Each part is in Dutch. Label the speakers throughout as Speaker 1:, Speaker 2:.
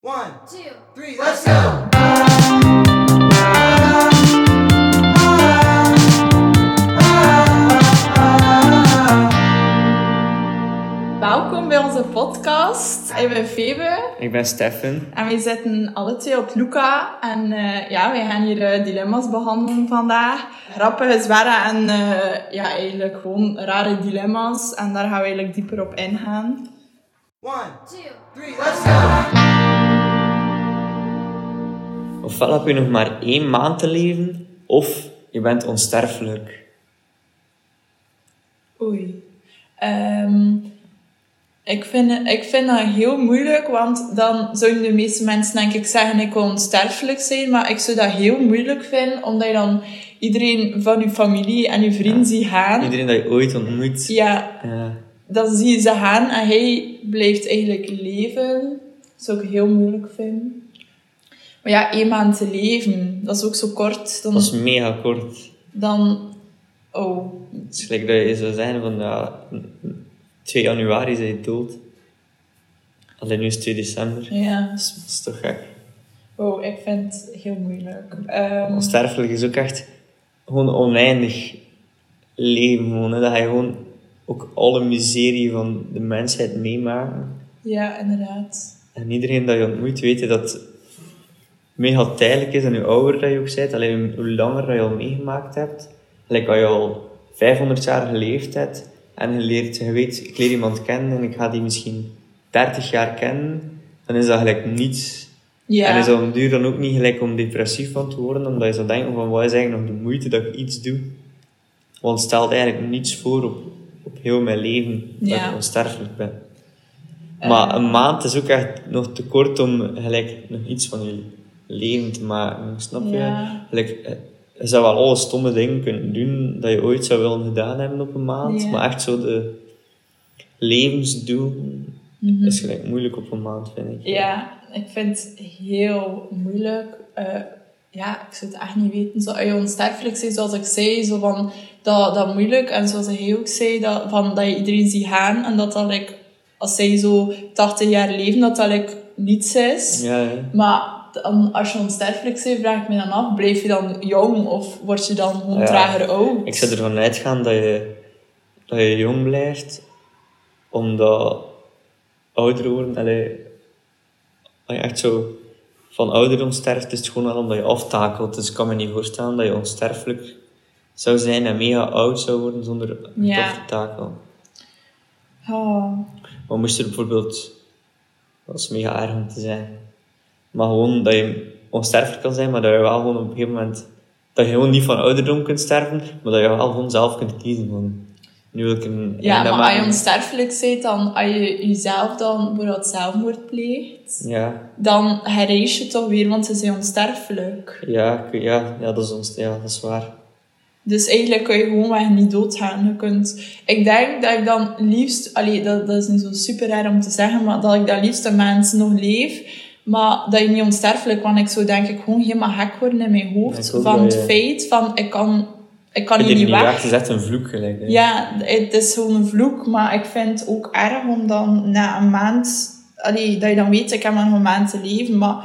Speaker 1: One,
Speaker 2: two.
Speaker 1: three, let's go!
Speaker 3: Welkom bij onze podcast. Ik ben Febe
Speaker 4: Ik ben Steffen.
Speaker 3: en wij zitten alle twee op Luca. En eh, ja, wij gaan hier eh, dilemma's behandelen vandaag. Grappige, zware en eh, ja, eigenlijk gewoon rare dilemma's. En daar gaan we eigenlijk dieper op ingaan.
Speaker 1: One,
Speaker 2: Two.
Speaker 1: three, let's go!
Speaker 4: Ofwel heb je nog maar één maand te leven, of je bent onsterfelijk.
Speaker 3: Oei. Ehm, ik, vind, ik vind dat heel moeilijk, want dan zouden de meeste mensen denk ik zeggen ik wil onsterfelijk zijn, maar ik zou dat heel moeilijk vinden, omdat je dan iedereen van je familie en je vrienden ziet gaan.
Speaker 4: Iedereen dat je ooit ontmoet. eh,
Speaker 3: Ja,
Speaker 4: Ja.
Speaker 3: dan zie je ze gaan en hij blijft eigenlijk leven. Dat zou ik heel moeilijk vinden. Maar ja, één maand te leven, dat is ook zo kort. Dan,
Speaker 4: dat is mega kort.
Speaker 3: dan oh,
Speaker 4: Het is gelijk dat je zou zeggen van, ja, 2 januari zijn je dood. Alleen nu is het 2 december.
Speaker 3: ja.
Speaker 4: Dat is, dat is toch gek.
Speaker 3: Oh, ik vind het heel moeilijk. Ehm
Speaker 4: Onsterfelijk is ook echt gewoon oneindig leven. Gewoon, hè. Dat je gewoon ook alle miserie van de mensheid meemaakt.
Speaker 3: ja, inderdaad.
Speaker 4: En iedereen dat je ontmoet weet je dat het mega tijdelijk is en hoe ouder dat je ook bent, alleen hoe langer dat je al meegemaakt hebt. Like als je al 500 jaar geleefd hebt en je, leert, je weet, ik leer iemand kennen en ik ga die misschien 30 jaar kennen, dan is dat gelijk niets.
Speaker 3: Ja,
Speaker 4: En is dat op den duur dan ook niet gelijk om depressief van te worden, omdat je zou denken van wat is eigenlijk nog de moeite dat ik iets doe. Want het stelt eigenlijk niets voor op, op heel mijn leven, dat
Speaker 3: Ja. Eh.
Speaker 4: ik onsterfelijk ben. Maar een maand is ook echt nog te kort om gelijk nog iets van je leven te maken. Snap je?
Speaker 3: Ja.
Speaker 4: Gelijk, eh, je zou wel alle stomme dingen kunnen doen dat je ooit zou willen gedaan hebben op een maand.
Speaker 3: Ja.
Speaker 4: Maar echt zo de levensdoel
Speaker 3: Mhm.
Speaker 4: is gelijk moeilijk op een maand, vind ik.
Speaker 3: Ja, ik vind het heel moeilijk. Eh, ja, ik zou het echt niet weten. Zo, als je onsterfelijk zijn, zoals ik zei, zo van, dat, dat moeilijk. En zoals hij ook zei, dat, van, dat je iedereen ziet gaan. En dat dat, like, als zij zo 80 jaar leven, dat dat like, niets is.
Speaker 4: Ja, ja.
Speaker 3: Maar dan, als je onsterfelijk bent, vraag ik me dan af, blijf je dan jong? Of word je dan gewoon
Speaker 4: Ja.
Speaker 3: trager oud?
Speaker 4: Ik zou ervan uitgaan dat je, dat je jong blijft, omdat ouder worden, allee, als je echt zo van ouderdom sterft, is het gewoon al omdat je aftakelt. Dus ik kan me niet voorstellen dat je onsterfelijk zou zijn en mega oud zou worden zonder
Speaker 3: Ja.
Speaker 4: ja. af te takelen.
Speaker 3: Ah.
Speaker 4: Maar moest er bijvoorbeeld, dat is mega erg om te zijn, maar gewoon dat je onsterfelijk kan zijn, maar dat je wel gewoon op een gegeven moment, dat je gewoon niet van ouderdom kunt sterven, maar dat je wel gewoon zelf kunt kiezen van, nu wil ik een
Speaker 3: Ja,
Speaker 4: einde
Speaker 3: maar als je
Speaker 4: maken.
Speaker 3: onsterfelijk bent, dan, als je jezelf dan bijvoorbeeld zelfmoord pleegt...
Speaker 4: Ja,
Speaker 3: dan herreis je toch weer, want ze zijn onsterfelijk.
Speaker 4: ja, ik- ja, ja, dat is ons, ja, dat is waar.
Speaker 3: Dus eigenlijk kun je gewoon weg niet doodgaan. Je kunt, ik denk dat ik dan liefst, allee, dat, dat is niet zo super raar om te zeggen, maar dat ik dan liefst de mensen nog leef, maar dat je niet onsterfelijk, want ik zou denk ik gewoon helemaal gek worden in mijn
Speaker 4: Ja,
Speaker 3: hoofd
Speaker 4: ik ook
Speaker 3: van
Speaker 4: wel,
Speaker 3: het
Speaker 4: ja.
Speaker 3: feit van ik kan, ik kan
Speaker 4: Ik
Speaker 3: hier
Speaker 4: weet
Speaker 3: niet
Speaker 4: niet
Speaker 3: weg.
Speaker 4: waar, het is echt een vloek gelijk. hè.
Speaker 3: Ja, het is zo'n vloek, maar ik vind het ook erg om dan na een maand, allee, dat je dan weet, ik heb maar nog een maand te leven, maar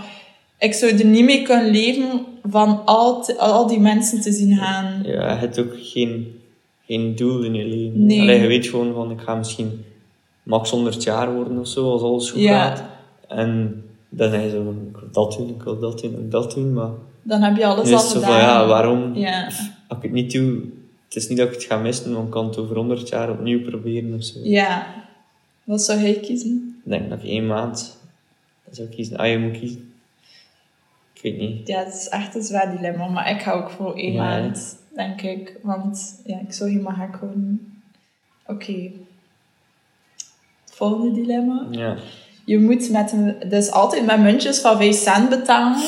Speaker 3: ik zou er niet mee kunnen leven van al, te- al die mensen te zien gaan.
Speaker 4: Ja, je hebt ook geen, geen doel in je leven.
Speaker 3: Nee.
Speaker 4: Allee, je weet gewoon van, ik ga misschien max 100 jaar worden of zo, als alles goed
Speaker 3: Ja.
Speaker 4: gaat. En dan heb je zo van, ik wil dat doen, ik wil dat doen, ik wil dat doen, maar...
Speaker 3: Dan heb je alles
Speaker 4: nu
Speaker 3: al
Speaker 4: is het zo
Speaker 3: gedaan.
Speaker 4: van, ja, waarom?
Speaker 3: Ja.
Speaker 4: Als ik het niet doe, het is niet dat ik het ga missen, want ik kan het over 100 jaar opnieuw proberen of zo.
Speaker 3: Ja. Wat zou jij kiezen?
Speaker 4: Ik denk dat ik één maand zou kiezen. Ah, je moet kiezen. Ik weet niet.
Speaker 3: Ja, het is echt een zwaar dilemma, maar ik ga ook voor één
Speaker 4: Ja.
Speaker 3: maand, denk ik. Want ja, ik zou helemaal gek worden. Oké. Het volgende dilemma.
Speaker 4: Ja.
Speaker 3: Je moet met een, dus altijd met muntjes van 5 cent betalen.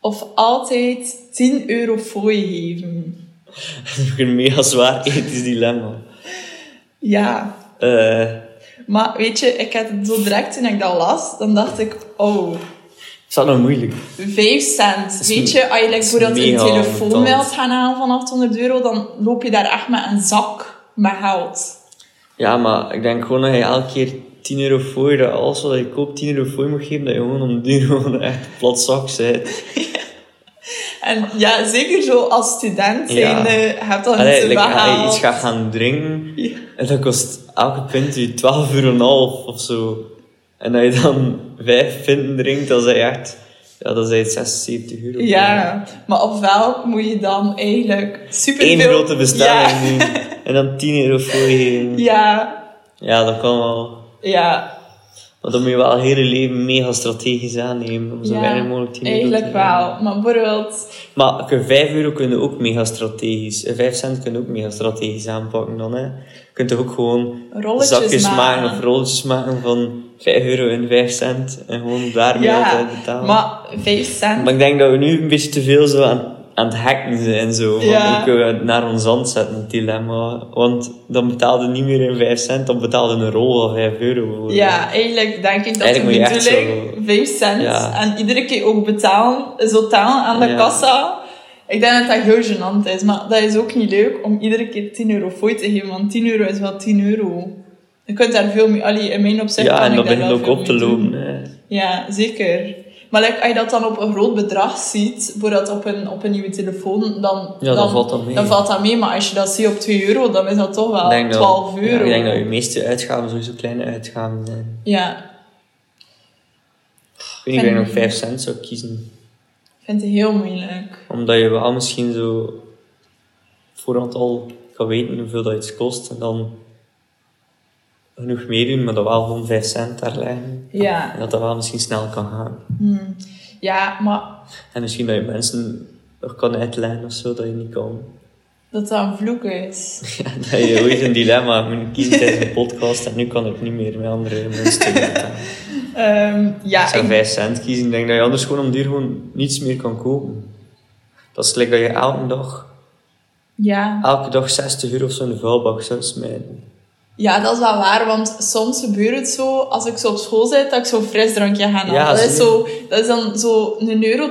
Speaker 3: Of altijd 10 euro fooi geven.
Speaker 4: Dat is ook een mega zwaar ethisch dilemma.
Speaker 3: Ja.
Speaker 4: Eh...
Speaker 3: Maar weet je, ik had het zo direct toen ik dat las, dan dacht ik, oh,
Speaker 4: is dat nou moeilijk?
Speaker 3: 5 cent. Weet je, als je like,
Speaker 4: is
Speaker 3: bijvoorbeeld een
Speaker 4: mega
Speaker 3: telefoon
Speaker 4: irritant.
Speaker 3: wilt gaan halen van 800 euro, dan loop je daar echt met een zak met geld.
Speaker 4: Ja, maar ik denk gewoon dat je elke keer 10 10 euro voor dat alles wat je koopt 10 euro voor moet geven, dat je gewoon om die gewoon echt plat zak bent.
Speaker 3: En ja, zeker zo als student
Speaker 4: Ja.
Speaker 3: zijn, eh heb dan
Speaker 4: Allee,
Speaker 3: iets
Speaker 4: like, als je
Speaker 3: behaald.
Speaker 4: iets gaat gaan drinken,
Speaker 3: Ja.
Speaker 4: en dat kost elke pint je 12 euro en een half of zo. En dat je dan 5 pinten drinkt, dat is echt, ja, dat is echt 76 euro.
Speaker 3: Ja, maar ofwel moet je dan eigenlijk super
Speaker 4: Eén grote bestelling
Speaker 3: Ja.
Speaker 4: doen en dan 10 euro voor je. Ja.
Speaker 3: Ja,
Speaker 4: dat kan wel.
Speaker 3: ja,
Speaker 4: Want dan moet je wel het hele leven mega strategisch aannemen om zo
Speaker 3: ja.
Speaker 4: weinig mogelijk 10 euro
Speaker 3: Eigenlijk
Speaker 4: te hebben.
Speaker 3: wel. Maar bijvoorbeeld,
Speaker 4: Maar oké, 5 euro kunnen ook mega strategisch. eh, 5 cent kunnen ook mega strategisch aanpakken dan. Hè. Je kunt toch ook gewoon
Speaker 3: Rolletjes
Speaker 4: zakjes maken.
Speaker 3: maken.
Speaker 4: of rolletjes maken van 5 euro en 5 cent. En gewoon daarmee
Speaker 3: ja,
Speaker 4: altijd betalen. Maar,
Speaker 3: maar 5 cent.
Speaker 4: ik denk dat we nu een beetje te veel zo aan, aan het hacken zijn en zo. Van,
Speaker 3: Ja.
Speaker 4: Hoe kunnen we het naar ons hand zetten, het dilemma? Want dan betaalde niet meer in 5 cent, dan betaalde een rol van 5 euro. bijvoorbeeld.
Speaker 3: Ja, eigenlijk denk ik dat
Speaker 4: Eigenlijk moet je
Speaker 3: de
Speaker 4: echt
Speaker 3: bedoeling
Speaker 4: zo-
Speaker 3: 5 cent
Speaker 4: Ja.
Speaker 3: en iedere keer ook betalen, zo talen aan de
Speaker 4: Ja.
Speaker 3: kassa. Ik denk dat dat heel gênant is, maar dat is ook niet leuk om iedere keer 10 euro fooi te geven, want 10 euro is wel 10 euro. Je kunt daar veel mee, allee, in mijn opzicht
Speaker 4: ja
Speaker 3: kan
Speaker 4: en
Speaker 3: ik
Speaker 4: dan
Speaker 3: daar
Speaker 4: begint
Speaker 3: wel
Speaker 4: ook
Speaker 3: veel
Speaker 4: op te
Speaker 3: mee doen.
Speaker 4: lopen. hè.
Speaker 3: Ja, zeker. Maar like, als je dat dan op een groot bedrag ziet, bijvoorbeeld op een, op een nieuwe telefoon, dan,
Speaker 4: Ja, dan valt dat mee.
Speaker 3: dan valt dat mee. Maar als je dat ziet op 2 euro, dan is dat toch wel
Speaker 4: Ik denk dat-
Speaker 3: 12 euro.
Speaker 4: ja, ik denk dat je meeste uitgaven sowieso kleine uitgaven zijn.
Speaker 3: Ja,
Speaker 4: Ik weet niet of je
Speaker 3: Vind-
Speaker 4: nog 5 cent zou kiezen.
Speaker 3: ik vind het heel moeilijk.
Speaker 4: Omdat je wel misschien zo voorhand al gaat weten hoeveel dat iets kost. En dan genoeg meedoen, maar dat wel gewoon 5 cent daar leggen.
Speaker 3: Ja.
Speaker 4: En dat dat wel misschien snel kan gaan.
Speaker 3: Hmm. Ja, maar
Speaker 4: En misschien dat je mensen nog kan uitleggen of zo, dat je niet kan.
Speaker 3: dat dat een vloek is.
Speaker 4: Ja, dat je ooit een dilemma moet kiezen tijdens een podcast en nu kan ik niet meer met andere mensen te doen.
Speaker 3: Ehm,
Speaker 4: Ik
Speaker 3: ja,
Speaker 4: zou
Speaker 3: ik-
Speaker 4: 5 cent kiezen. Ik denk dat je anders gewoon om duur gewoon niets meer kan kopen. Dat is gelijk dat je elke dag,
Speaker 3: ja.
Speaker 4: elke dag 60 euro of zo in de vuilbak zou smijten.
Speaker 3: ja, dat is wel waar, want soms gebeurt het zo, als ik zo op school zit, dat ik zo'n frisdrankje ga halen.
Speaker 4: Ja,
Speaker 3: dat, is
Speaker 4: zie je.
Speaker 3: zo, dat is dan zo 1,20 euro.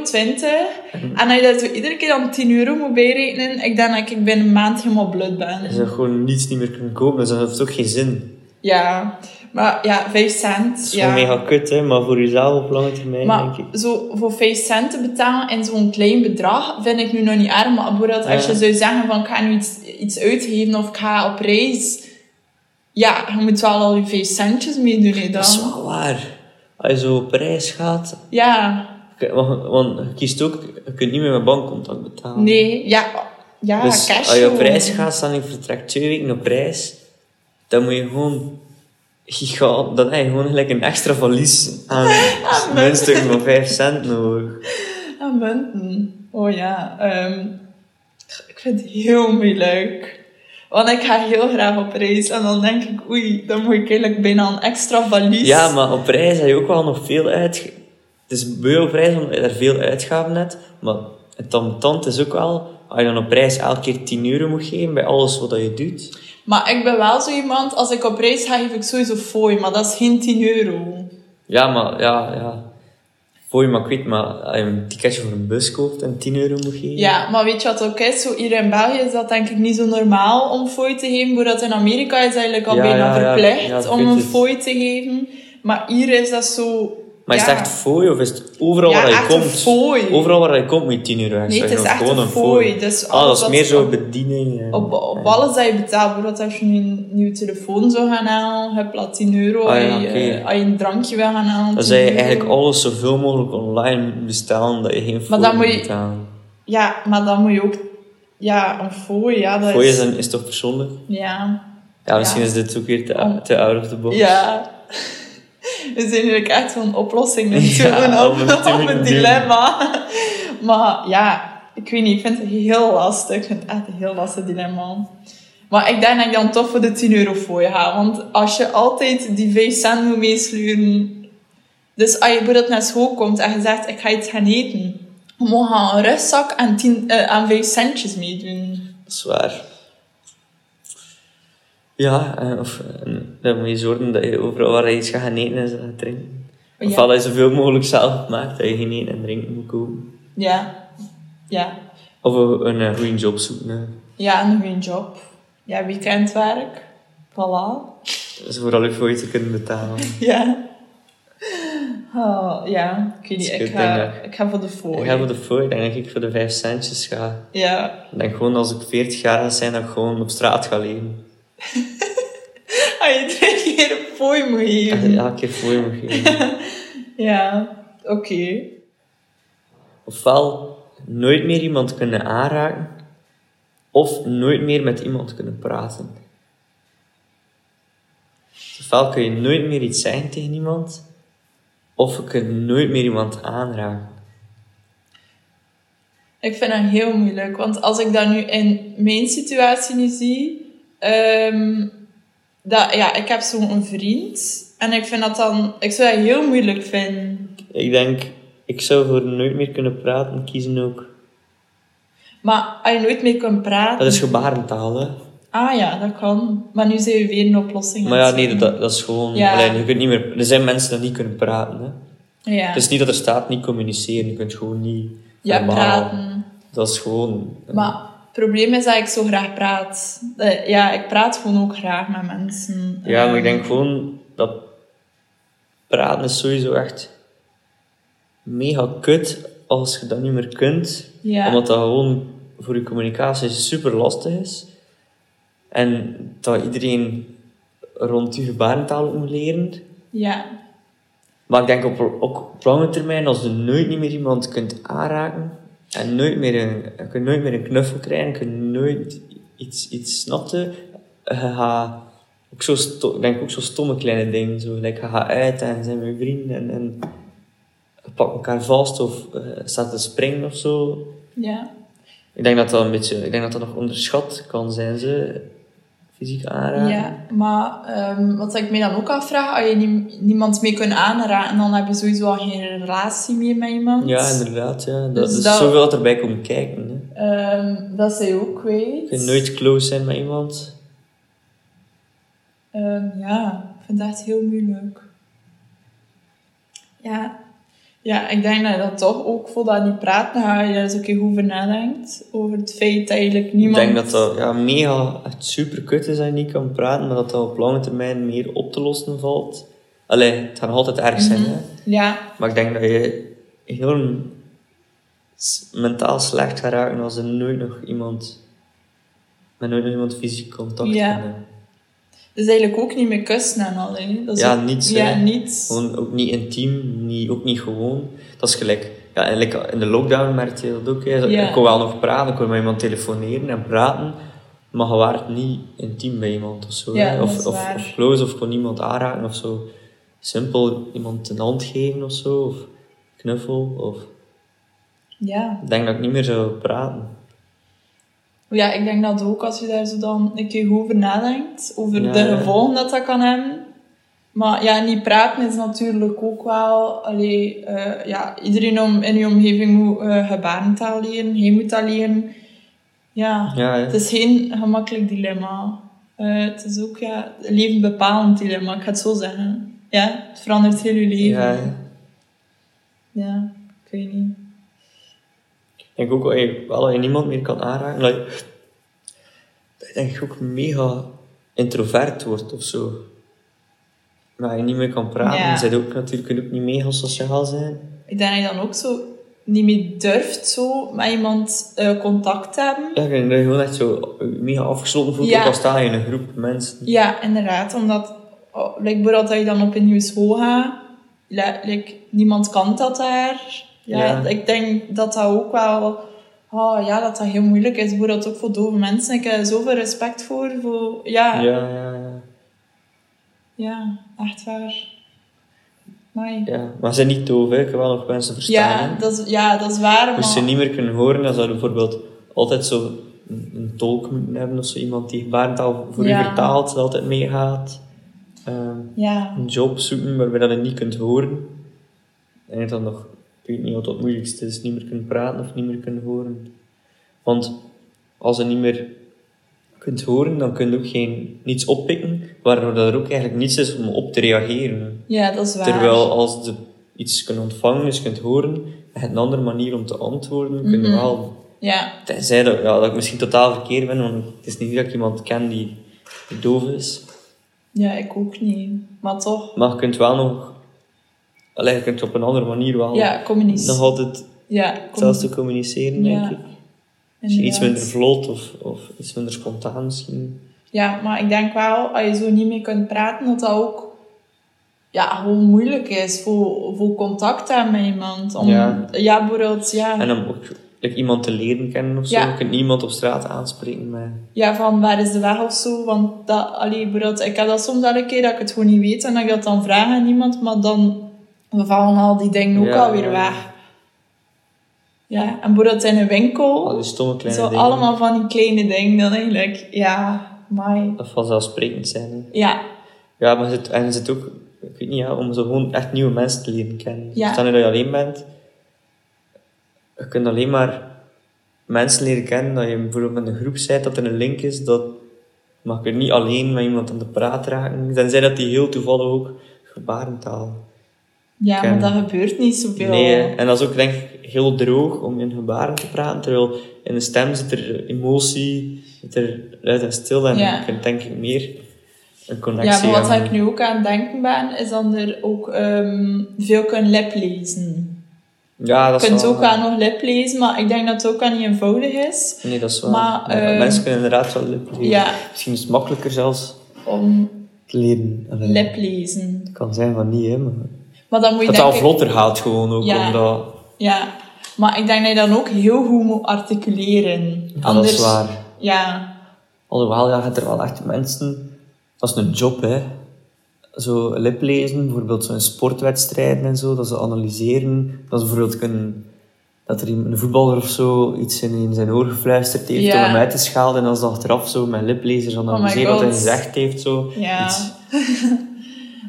Speaker 3: En als je dat zo iedere keer dan 10 euro moet bijrekenen, ik denk dat ik binnen een maand helemaal blut
Speaker 4: Je
Speaker 3: ben.
Speaker 4: zou gewoon niets niet meer kunnen kopen, dus dat heeft ook geen zin.
Speaker 3: Ja, maar ja, 5 cent.
Speaker 4: Dat is
Speaker 3: ja.
Speaker 4: gewoon mega kut, hè? maar voor jezelf op lange termijn,
Speaker 3: Maar
Speaker 4: denk ik.
Speaker 3: zo voor 5 cent te betalen in zo'n klein bedrag vind ik nu nog niet erg. Maar bijvoorbeeld als
Speaker 4: Ja.
Speaker 3: je zou zeggen van ik ga nu iets, iets uitgeven of ik ga op reis. Ja, je moet wel al je 5 centjes meedoen hè,
Speaker 4: Dat is
Speaker 3: dan.
Speaker 4: wel waar. Als je zo op reis gaat,
Speaker 3: Ja,
Speaker 4: k- want, want je kiest ook, je kunt niet meer met bankcontact betalen.
Speaker 3: nee, ja, ja
Speaker 4: Oh. dus
Speaker 3: cash.
Speaker 4: als je op
Speaker 3: gewoon.
Speaker 4: reis gaat, staan ik vertrek twee weken op reis, dan moet je gewoon giga, dan heb je gewoon gelijk een extra valies aan munstukken van 5 cent nodig.
Speaker 3: Ah, munten. Oh ja, ehm, ik vind het heel moeilijk. Want ik ga heel graag op reis en dan denk ik, oei, dan moet ik eigenlijk bijna een extra valies.
Speaker 4: Ja, maar op reis heb je ook wel nog veel uit. Het is beu op reis omdat je daar veel uitgaven hebt, maar het ambetant is ook wel, als je dan op reis elke keer 10 euro moet geven bij alles wat je doet.
Speaker 3: Maar ik ben wel zo iemand, als ik op reis ga, geef ik sowieso fooi, maar dat is geen 10 euro.
Speaker 4: Ja, maar ja, ja. Voor je maar kwijt, maar als je een ticketje voor een bus koopt en 10 euro moet geven.
Speaker 3: Ja, maar weet je wat ook is? Zo hier in België is dat denk ik niet zo normaal om fooi te geven. Voordat in Amerika is eigenlijk al
Speaker 4: Ja,
Speaker 3: bijna
Speaker 4: ja, ja.
Speaker 3: verplicht
Speaker 4: Ja, ik
Speaker 3: om
Speaker 4: weet
Speaker 3: een
Speaker 4: het.
Speaker 3: fooi te geven. Maar hier is dat zo...
Speaker 4: Maar
Speaker 3: ja.
Speaker 4: is het echt fooi of is het overal
Speaker 3: Ja,
Speaker 4: waar je
Speaker 3: echt een
Speaker 4: komt?
Speaker 3: fooi.
Speaker 4: Overal waar je komt moet je 10 euro extra
Speaker 3: Nee, het is
Speaker 4: geven,
Speaker 3: echt
Speaker 4: gewoon
Speaker 3: een fooi, dus
Speaker 4: ah, dat
Speaker 3: alles
Speaker 4: is
Speaker 3: wat
Speaker 4: meer
Speaker 3: ze-
Speaker 4: zo bediening. en-
Speaker 3: Op, op
Speaker 4: en-
Speaker 3: alles dat je betaalt, bijvoorbeeld als je nu een nieuwe telefoon zou gaan halen, heb je al 10 euro.
Speaker 4: Ah, ja,
Speaker 3: als, je,
Speaker 4: oké.
Speaker 3: eh, als je een drankje wil gaan halen, 10
Speaker 4: Dan zou je
Speaker 3: euro.
Speaker 4: eigenlijk alles zoveel mogelijk online moet bestellen dat je geen fooi
Speaker 3: dan
Speaker 4: moet
Speaker 3: moet je-
Speaker 4: betalen.
Speaker 3: Ja, maar dan moet je ook... Ja, een fooi, ja, dat
Speaker 4: Fooi
Speaker 3: is...
Speaker 4: is, dan- is toch persoonlijk?
Speaker 3: Ja.
Speaker 4: Ja, misschien
Speaker 3: Ja.
Speaker 4: is dit ook weer te,
Speaker 3: Om-
Speaker 4: te out of the box.
Speaker 3: Ja. We zijn eigenlijk echt zo'n oplossing aan het
Speaker 4: Ja,
Speaker 3: zoeken
Speaker 4: om het
Speaker 3: op,
Speaker 4: te
Speaker 3: op
Speaker 4: doen.
Speaker 3: een dilemma. Maar ja, ik weet niet, ik vind het heel lastig. Ik vind het echt een heel lastig dilemma. Maar ik denk dat ik dan toch voor de 10 euro voor je ga. Want als je altijd die 5 cent moet meesluren... Dus als je bijvoorbeeld naar school komt en je zegt, ik ga iets gaan eten. Je mag aan een rugzak en, 10, eh, en 5 centjes meedoen.
Speaker 4: Dat is waar. Ja, eh, of, eh, dan moet je zorgen dat je overal waar je iets gaat gaan eten en gaat drinken.
Speaker 3: Ja.
Speaker 4: Ofwel dat je zoveel mogelijk zelf maakt dat je geen eten en drinken moet kopen.
Speaker 3: Ja. Ja.
Speaker 4: Of een, een eh, goede job zoeken. hè.
Speaker 3: Ja, en een goede job. Ja, weekendwerk. Voilà.
Speaker 4: Dus vooral je voor je te kunnen betalen.
Speaker 3: Ja. Oh, ja, ik weet niet.
Speaker 4: Dat is
Speaker 3: Ik
Speaker 4: goed,
Speaker 3: ga,
Speaker 4: denk
Speaker 3: ik ga voor de fooi.
Speaker 4: Ik ga voor de fooi, ik denk dat ik voor de 5 centjes ga.
Speaker 3: Ja.
Speaker 4: Ik denk gewoon als ik 40 jaar ga zijn, dat ik gewoon op straat ga leven.
Speaker 3: Ah, je drie keer een fooi moet geven.
Speaker 4: Elke keer fooi moet geven.
Speaker 3: Ja, oké.
Speaker 4: Ofwel nooit meer iemand kunnen aanraken, of nooit meer met iemand kunnen praten. Dus Ofwel kun je nooit meer iets zeggen tegen iemand, of je kunt nooit meer iemand aanraken.
Speaker 3: Ik vind dat heel moeilijk, want als ik dat nu in mijn situatie nu zie, ehm, dat, ja, ik heb zo'n vriend en ik vind dat dan, ik zou dat heel moeilijk vinden.
Speaker 4: Ik denk, ik zou voor nooit meer kunnen praten kiezen ook.
Speaker 3: Maar als je nooit meer kunt praten,
Speaker 4: Dat is gebarentaal, hè?
Speaker 3: ah ja, dat kan. Maar nu zijn we weer een oplossing. aan
Speaker 4: Maar ja,
Speaker 3: het
Speaker 4: nee,
Speaker 3: zoeken.
Speaker 4: dat, dat is gewoon...
Speaker 3: Ja.
Speaker 4: Allee, je kunt niet meer... Er zijn mensen die niet kunnen praten, hè.
Speaker 3: ja.
Speaker 4: Het is niet dat er staat niet communiceren. Je kunt gewoon niet
Speaker 3: ja,
Speaker 4: normaal.
Speaker 3: praten.
Speaker 4: Dat is gewoon...
Speaker 3: Maar het probleem is dat ik zo graag praat. Eh, ja, ik praat gewoon ook graag met mensen.
Speaker 4: Ja, maar ik
Speaker 3: Ehm,
Speaker 4: denk gewoon dat praten is sowieso echt mega kut als je dat niet meer kunt.
Speaker 3: Ja.
Speaker 4: Omdat dat gewoon voor je communicatie super lastig is. En dat iedereen rond je gebarentaal ook moet leren.
Speaker 3: Ja,
Speaker 4: Maar ik denk op, ook op lange termijn, als je nooit niet meer iemand kunt aanraken en nooit meer een, je kunt nooit meer een knuffel krijgen, je kunt nooit iets, iets snappen, eh, je gaat ook zo, sto- ik denk ook zo stomme kleine dingen. Zo, like, je gaat uit en zijn met vrienden en, en je pakt elkaar vast of eh, staat te springen of zo.
Speaker 3: ja.
Speaker 4: Ik denk dat dat een beetje, ik denk dat dat nog onderschat kan zijn, ze, fysiek aanraken.
Speaker 3: Ja, maar ehm, wat ik mij dan ook afvraag, als je nie- niemand mee kunt aanraken, dan heb je sowieso al geen relatie meer met iemand.
Speaker 4: Ja, inderdaad. Ja. Dat,
Speaker 3: Dus
Speaker 4: is
Speaker 3: dat-
Speaker 4: zoveel dat erbij komt kijken. Hè.
Speaker 3: Ehm, dat zij ook weet.
Speaker 4: Je kunt nooit close zijn met iemand.
Speaker 3: Ehm, ja, ik vind dat echt heel moeilijk. Ja. Ja, ik denk dat je dat toch ook voor dat niet praten ga je daar eens een keer goed over nadenkt. Over het feit dat eigenlijk niemand...
Speaker 4: Ik denk dat dat ja, mega echt super kut is dat je niet kan praten, maar dat dat op lange termijn meer op te lossen valt. Allee, het gaat nog altijd erg zijn,
Speaker 3: Mhm.
Speaker 4: hè?
Speaker 3: Ja,
Speaker 4: maar ik denk dat je heel s- mentaal slecht gaat raken als er nooit nog iemand met nooit nog iemand fysiek contact
Speaker 3: Ja.
Speaker 4: kan hebben.
Speaker 3: dus eigenlijk ook niet meer kussen en al, hè. Dat is
Speaker 4: Ja,
Speaker 3: ook-
Speaker 4: niets,
Speaker 3: Ja,
Speaker 4: hè.
Speaker 3: niets.
Speaker 4: Gewoon ook niet intiem, niet, ook niet gewoon. Dat is gelijk. Ja, en like in de lockdown merkte je dat ook. hè.
Speaker 3: Ja.
Speaker 4: Ik kon wel nog praten, ik kon met iemand telefoneren en praten, maar je waart niet intiem bij iemand of zo.
Speaker 3: Ja,
Speaker 4: hè.
Speaker 3: dat
Speaker 4: of,
Speaker 3: is
Speaker 4: of,
Speaker 3: waar.
Speaker 4: of close, of kon iemand aanraken of zo. Simpel iemand een hand geven of zo, of knuffel. Of...
Speaker 3: Ja.
Speaker 4: Ik denk dat ik niet meer zou praten.
Speaker 3: Ja, ik denk dat ook als je daar zo dan een keer goed over nadenkt, over
Speaker 4: Ja,
Speaker 3: de
Speaker 4: ja.
Speaker 3: gevolgen dat dat kan hebben. Maar ja, niet praten is natuurlijk ook wel... Allee, eh, ja, iedereen om, in je omgeving moet eh, gebarentaal leren, hij moet dat leren. Ja,
Speaker 4: Ja, hè.
Speaker 3: Ah, het is geen gemakkelijk dilemma. Eh, het is ook ja, leven bepalend dilemma, ik ga het zo zeggen. Ja, het verandert heel je leven.
Speaker 4: Ja,
Speaker 3: Ja,
Speaker 4: hè.
Speaker 3: ik weet niet.
Speaker 4: Ik denk ook dat je, wel, dat je niemand meer kan aanraken. Dat je, dat je denk ik ook mega introvert wordt of zo. Maar je niet meer kan praten.
Speaker 3: Ja.
Speaker 4: Je bent ook natuurlijk kunt ook niet mega sociaal zijn.
Speaker 3: Ik denk dat je dan ook zo niet meer durft zo met iemand eh, contact te hebben.
Speaker 4: Ja, je kunt je gewoon echt zo eh, mega afgesloten voelt.
Speaker 3: Ja.
Speaker 4: Ook al sta je in een groep mensen.
Speaker 3: Ja, inderdaad. Omdat, oh, like, bijvoorbeeld dat je dan op een nieuwe school gaat, li- like, niemand kan dat daar. Ja,
Speaker 4: Ja.
Speaker 3: Ik denk dat dat ook wel... Oh, ja, dat dat heel moeilijk is. Bijvoorbeeld ook voor dove mensen. Ik heb zoveel respect voor. voor ja,
Speaker 4: Ja,
Speaker 3: ja.
Speaker 4: ja, ja.
Speaker 3: echt waar. Amai.
Speaker 4: ja. Maar ze zijn niet doof, hè. Ik kan wel nog mensen verstaan.
Speaker 3: Ja,
Speaker 4: hè.
Speaker 3: dat is, ja, dat is waar.
Speaker 4: Moest ze
Speaker 3: maar-
Speaker 4: niet meer kunnen horen, dan zou je bijvoorbeeld altijd zo een, een tolk moeten hebben of zo. Iemand die gebarentaal voor
Speaker 3: Ja.
Speaker 4: u vertaalt, dat altijd meegaat. Ehm,
Speaker 3: Ja.
Speaker 4: een job zoeken waarbij dat je niet kunt horen. En je dan nog, ik weet niet wat het moeilijkste is, niet meer kunnen praten of niet meer kunnen horen. Want als je niet meer kunt horen, dan kun je ook geen, niets oppikken, waardoor dat er ook eigenlijk niets is om op te reageren.
Speaker 3: ja, dat is waar.
Speaker 4: Terwijl als je iets kunt ontvangen, dus kunt horen, en je hebt een andere manier om te antwoorden, kun je
Speaker 3: Mhm.
Speaker 4: wel...
Speaker 3: Ja,
Speaker 4: Tenzij dat, ja, dat ik misschien totaal verkeerd ben, want het is niet dat ik iemand ken die doof is.
Speaker 3: Ja, ik ook niet. Maar toch,
Speaker 4: Maar je kunt wel nog... Allee, je kunt op een andere manier wel
Speaker 3: ja, communist.
Speaker 4: nog altijd
Speaker 3: ja,
Speaker 4: hetzelfde communiceren, denk
Speaker 3: Ja,
Speaker 4: ik. Misschien iets
Speaker 3: inderdaad.
Speaker 4: minder vlot of, of iets minder spontaan misschien.
Speaker 3: Ja, maar ik denk wel, als je zo niet meer kunt praten, dat dat ook ja, gewoon moeilijk is voor, voor contact te hebben met iemand. Om,
Speaker 4: Ja.
Speaker 3: ja. bijvoorbeeld, ja.
Speaker 4: En om ook like, iemand te leren kennen of zo.
Speaker 3: Ah. Ja.
Speaker 4: Je kunt niemand op straat aanspreken met...
Speaker 3: ja, van waar is de weg of zo. Want dat, allee, bijvoorbeeld, ik heb dat soms wel een keer dat ik het gewoon niet weet en dat ik dat dan vraag aan iemand, maar dan vallen al die dingen ook
Speaker 4: Ja,
Speaker 3: alweer
Speaker 4: ja.
Speaker 3: weg. Ja, en bijvoorbeeld in een
Speaker 4: Al
Speaker 3: winkel,
Speaker 4: Oh, die stomme kleine
Speaker 3: Oh. zo
Speaker 4: dingen.
Speaker 3: allemaal van die kleine dingen dan eigenlijk. Ja, maar
Speaker 4: Dat vanzelfsprekend zijn. hè.
Speaker 3: ja,
Speaker 4: Ja, maar het, en zit ook, ik weet niet, ja, om zo gewoon echt nieuwe mensen te leren kennen.
Speaker 3: Ja.
Speaker 4: Stel nu dat je alleen bent, je kunt alleen maar mensen leren kennen dat je bijvoorbeeld in een groep zit, dat er een link is, dat mag je niet alleen met iemand aan de praat raken. Tenzij dat die heel toevallig ook gebarentaal.
Speaker 3: ja maar
Speaker 4: Ken.
Speaker 3: dat gebeurt niet zoveel.
Speaker 4: Nee, en dat is ook denk ik heel droog om in gebaren te praten, terwijl in de stem zit er emotie, zit er luid en stil en
Speaker 3: Ja.
Speaker 4: je kunt denk ik meer een
Speaker 3: Ja,
Speaker 4: connectie
Speaker 3: maar wat
Speaker 4: hebben.
Speaker 3: ik nu ook aan het denken ben, is dat er ook ehm, veel kunnen liplezen.
Speaker 4: Ja, dat
Speaker 3: Je
Speaker 4: is
Speaker 3: kunt
Speaker 4: wel
Speaker 3: ook wel nog liplezen, maar ik denk dat het ook wel niet eenvoudig is.
Speaker 4: Nee, dat is waar.
Speaker 3: Maar,
Speaker 4: Ja,
Speaker 3: eh,
Speaker 4: mensen kunnen inderdaad wel lip leren.
Speaker 3: Ja.
Speaker 4: Misschien is het makkelijker zelfs
Speaker 3: Om
Speaker 4: te leren. Allee,
Speaker 3: liplezen.
Speaker 4: Het kan zijn van niet, hè, maar...
Speaker 3: Maar dan moet je
Speaker 4: Dat het al
Speaker 3: denk ik-
Speaker 4: vlotter gaat gewoon ook,
Speaker 3: Ja.
Speaker 4: omdat...
Speaker 3: Ja, maar ik denk dat je dan ook heel goed moet articuleren.
Speaker 4: Ja, dat is waar.
Speaker 3: Ja,
Speaker 4: Alhoewel, ja, je hebt er wel echt mensen... Dat is een job, hè. Zo liplezen, bijvoorbeeld zo in sportwedstrijden en zo, dat ze analyseren. Dat ze bijvoorbeeld kunnen... Dat er iemand- een voetballer of zo iets in, in zijn oor gefluisterd heeft
Speaker 3: Ja. Oh
Speaker 4: om hem uit te schalen. En dan ze achteraf zo met liplezers analyseren wat hij
Speaker 3: God.
Speaker 4: gezegd heeft. Zo.
Speaker 3: ja.
Speaker 4: Iets,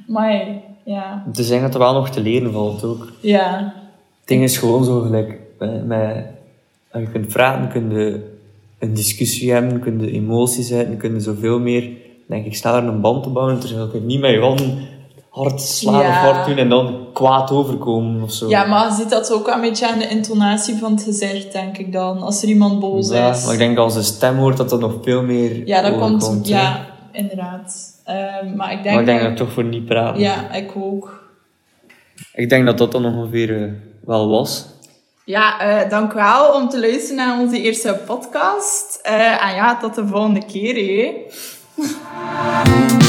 Speaker 3: maar ja,
Speaker 4: Om te zeggen dat er wel nog te leren valt ook.
Speaker 3: ja.
Speaker 4: Het ding is gewoon zo gelijk, eh, met, als je kunt praten, kun je een discussie hebben, kun je emoties uiten, kun je zoveel meer, denk ik, sneller een band te bouwen, terwijl je niet met je handen hard slaan
Speaker 3: Ja.
Speaker 4: of hard doen en dan kwaad overkomen of zo.
Speaker 3: Ja, maar je ziet dat ook wel een beetje aan de intonatie van het gezicht, denk ik dan. Als er iemand boos
Speaker 4: Ja,
Speaker 3: is.
Speaker 4: maar ik denk als je stem hoort, dat dat nog veel meer
Speaker 3: Ja, dat
Speaker 4: overkomt,
Speaker 3: komt.
Speaker 4: hè.
Speaker 3: Ja, inderdaad. Ehm, maar ik denk.
Speaker 4: Maar ik denk dat ik toch voor niet praten.
Speaker 3: Ja, ik ook.
Speaker 4: Ik denk dat dat dan ongeveer eh, wel was.
Speaker 3: Ja, eh, dank wel om te luisteren naar onze eerste podcast. Eh, en ja, tot de volgende keer. hè.